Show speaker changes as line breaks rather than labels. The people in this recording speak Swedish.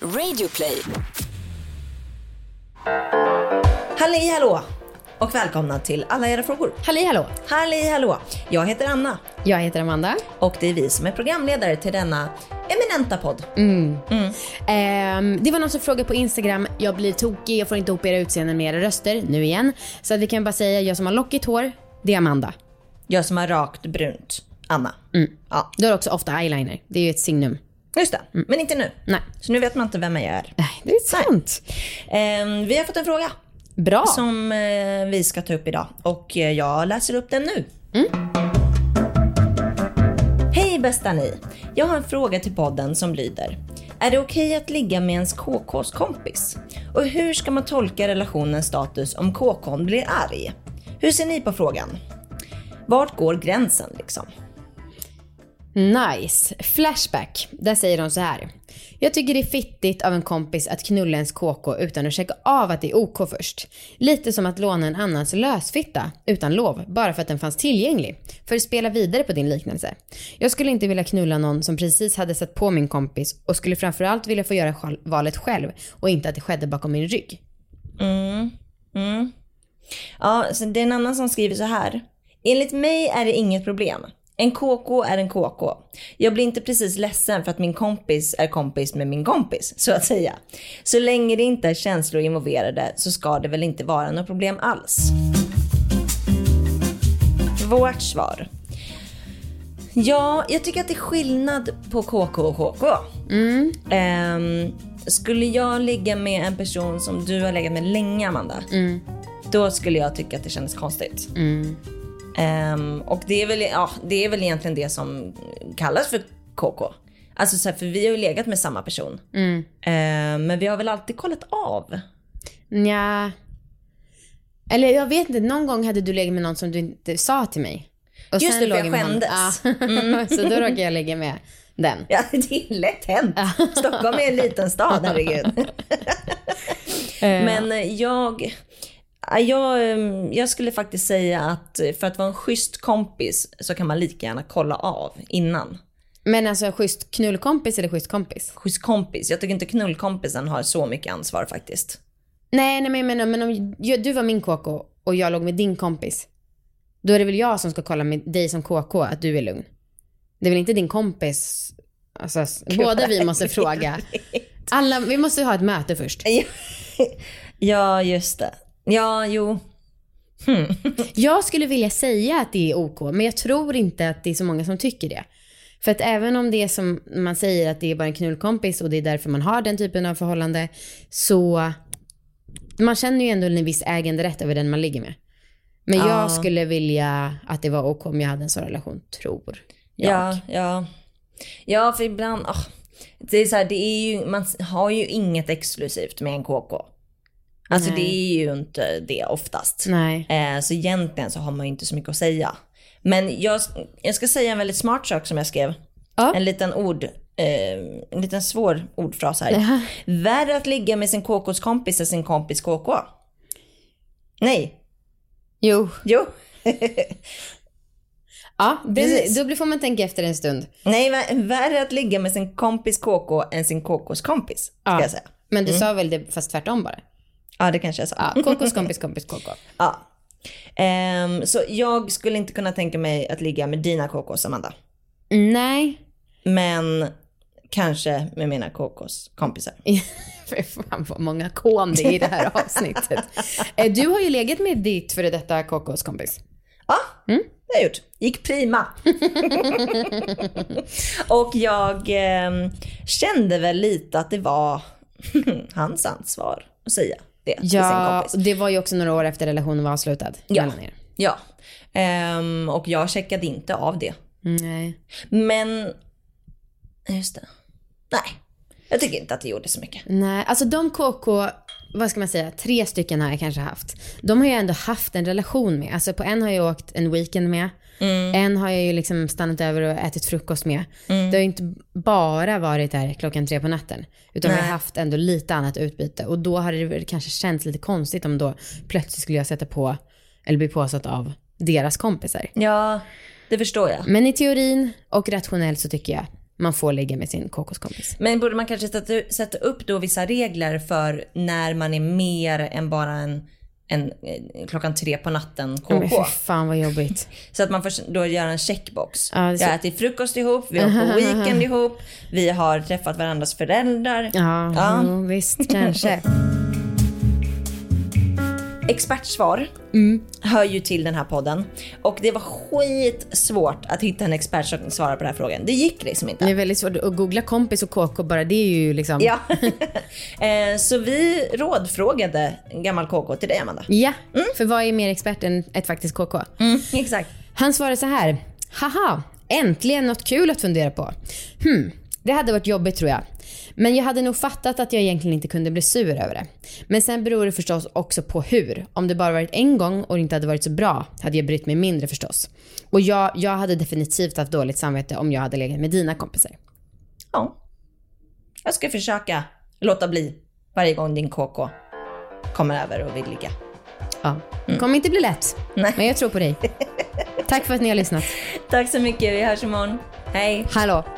Radioplay.
Halli hallå! Och välkomna till alla era frågor.
Halli hallå!
Halli hallå! Jag heter Anna
Jag heter Amanda.
och det är vi som är programledare till denna eminenta podd.
Ehm, det var någon som frågade på Instagram, jag blir tokig, jag får inte ihop era utseenden med era röster, nu igen. Så att vi kan bara säga, jag som har lockigt hår, det är Amanda.
Jag som har rakt brunt. Anna. Ja,
Du har också ofta eyeliner, det är ju ett signum.
just det. Men inte nu.
Nej.
Så nu vet man inte vem jag är.
Nej, det är sant.
Ehm, vi har fått en fråga
Bra!
som eh, vi ska ta upp idag och eh, jag läser upp den nu. Hej bästa ni! Jag har en fråga till podden som lyder. Är det okej att ligga med ens KKs kompis? Och hur ska man tolka relationens status om KKn blir arg? Hur ser ni på frågan? Vart går gränsen liksom?
Nice. Flashback. Där säger de så här. Jag tycker det är fittigt av en kompis att knulla ens KK utan att checka av att det är OK först. Lite som att låna en annans lösfitta utan lov, bara för att den fanns tillgänglig. För att spela vidare på din liknelse. Jag skulle inte vilja knulla någon som precis hade satt på min kompis och skulle framförallt vilja få göra sjal- valet själv och inte att det skedde bakom min rygg.
Ja, så det är en annan som skriver så här. Enligt mig är det inget problem. En KK är en KK. Jag blir inte precis ledsen för att min kompis är kompis med min kompis, så att säga. Så länge det inte är känslor involverade så ska det väl inte vara något problem alls. Vårt svar. Ja, jag tycker att det är skillnad på KK och KK. Ehm, skulle jag ligga med en person som du har legat med länge, Amanda, då skulle jag tycka att det kändes konstigt.
Mm.
Ehm, och det är, väl, ja, det är väl egentligen det som kallas för KK. Alltså så här, för vi har ju legat med samma person.
Mm.
Ehm, men vi har väl alltid kollat av.
Nja. Eller jag vet inte, någon gång hade du legat med någon som du inte sa till mig. Och
Just det, för
låg
jag
med honom.
skämdes. Mm. Eh.
Ja. så då råkade jag ligga med den.
Ja, det är lätt hänt. Stockholm är en liten stad, herregud. Men eh, jag, ja, jag, eh, jag skulle faktiskt säga att eh, för att vara en schysst kompis så kan man lika gärna kolla av innan.
Men alltså schysst knullkompis eller schysst kompis?
Schysst kompis. Jag tycker inte knullkompisen har så mycket ansvar faktiskt.
Nej, nej men jag menar, men om jag, du var min KK och jag låg med din kompis. Då är det väl jag som ska kolla med dig som KK att du är lugn. Det är väl inte din kompis? Alltså, s- båda vi måste fråga. Alla, vi måste ha ett möte först.
Ja, just det. Ja, jo.
Hmm. Jag skulle vilja säga att det är OK, men jag tror inte att det är så många som tycker det. För att även om det är som man säger att det är bara en knullkompis och det är därför man har den typen av förhållande, så man känner ju ändå en viss äganderätt över den man ligger med. Men jag
Ja.
skulle vilja att det var OK om jag hade en sån relation, tror jag.
Ja, ja. Ja, för ibland, ah, det är så här, det är ju, man har ju inget exklusivt med en KK. Alltså
Nej.
det är ju inte det oftast.
Nej.
Eh, så egentligen så har man ju inte så mycket att säga. Men jag, jag ska säga en väldigt smart sak som jag skrev.
Ja.
En liten ord, eh, en liten svår ordfras här. Värre att ligga med sin KKs kompis än sin kompis KK. Nej,
Jo.
jo.
Ja,
Precis.
det, då blir- får man tänka efter en stund.
Nej, vär- värre att ligga med sin kompis KK än sin KKs kompis. Ska
Ja.
jag säga.
Men du sa väl det fast tvärtom bara?
Ja, det kanske jag sa.
Ja, KKs kompis kompis KK.
Ja. Ehm, så jag skulle inte kunna tänka mig att ligga med dina KKs, Amanda.
Nej,
Men kanske med mina KKs kompisar.
För fan vad många kon det är i det här avsnittet. Eh, Du har ju legat med ditt före detta KKs kompis.
Ja, det har jag gjort. Gick prima. och jag ehm, kände väl lite att det var hans ansvar att säga det till sin
Ja,
kompis.
det var ju också några år efter relationen var avslutad.
Ja.
mellan er.
Ja. Ehm, och jag checkade inte av det.
Mm, Nej.
Men, just det. Nej, jag tycker inte att det gjorde så mycket.
Nej, alltså de KK, vad ska man säga, tre stycken har jag kanske haft. De har jag ändå haft en relation med. Alltså på en har jag åkt en weekend med. En har jag ju liksom stannat över och ätit frukost med. Det har ju inte bara varit där klockan tre på natten. Utan vi
Nej.
har haft ändå lite annat utbyte. Och då hade det väl kanske känts lite konstigt om då plötsligt skulle jag sätta på, eller bli påsatt av deras kompisar.
Ja, det förstår jag.
Men i teorin och rationellt så tycker jag man får ligga med sin KK-kompis.
Men borde man kanske sätta, sätta upp då vissa regler för när man är mer än bara en, en eh, klockan tre på natten
Ja, Men
KK?
fy fan vad jobbigt.
Så att man får då göra en checkbox.
Ja, det är så-
Jag äter frukost ihop, vi har på weekend ihop, vi har träffat varandras föräldrar.
Ja,
Ja.
Jo, visst kanske.
Expertsvar
Mm.
hör ju till den här podden. Och det var skitsvårt att hitta en expert som svarar på den här frågan. Det gick liksom inte.
Det är väldigt svårt att googla kompis och KK bara, det är ju liksom.
Ja. Eh, Så vi rådfrågade en gammal KK till dig Amanda.
Ja,
Mm.
för vad är mer expert än ett faktiskt KK?
Exakt.
Han svarade så här. Haha, äntligen något kul att fundera på. Hmm, det hade varit jobbigt tror jag. Men jag hade nog fattat att jag egentligen inte kunde bli sur över det. Men sen beror det förstås också på hur. Om det bara varit en gång och det inte hade varit så bra hade jag brytt mig mindre förstås. Och jag, jag hade definitivt haft dåligt samvete om jag hade legat med dina kompisar.
Ja. Jag ska försöka låta bli varje gång din KK kommer över och vill ligga.
Ja. kommer inte bli lätt.
Nej.
Men jag tror på dig. Tack för att ni har lyssnat.
Tack så mycket, vi hörs imorgon. Hej!
Hallå.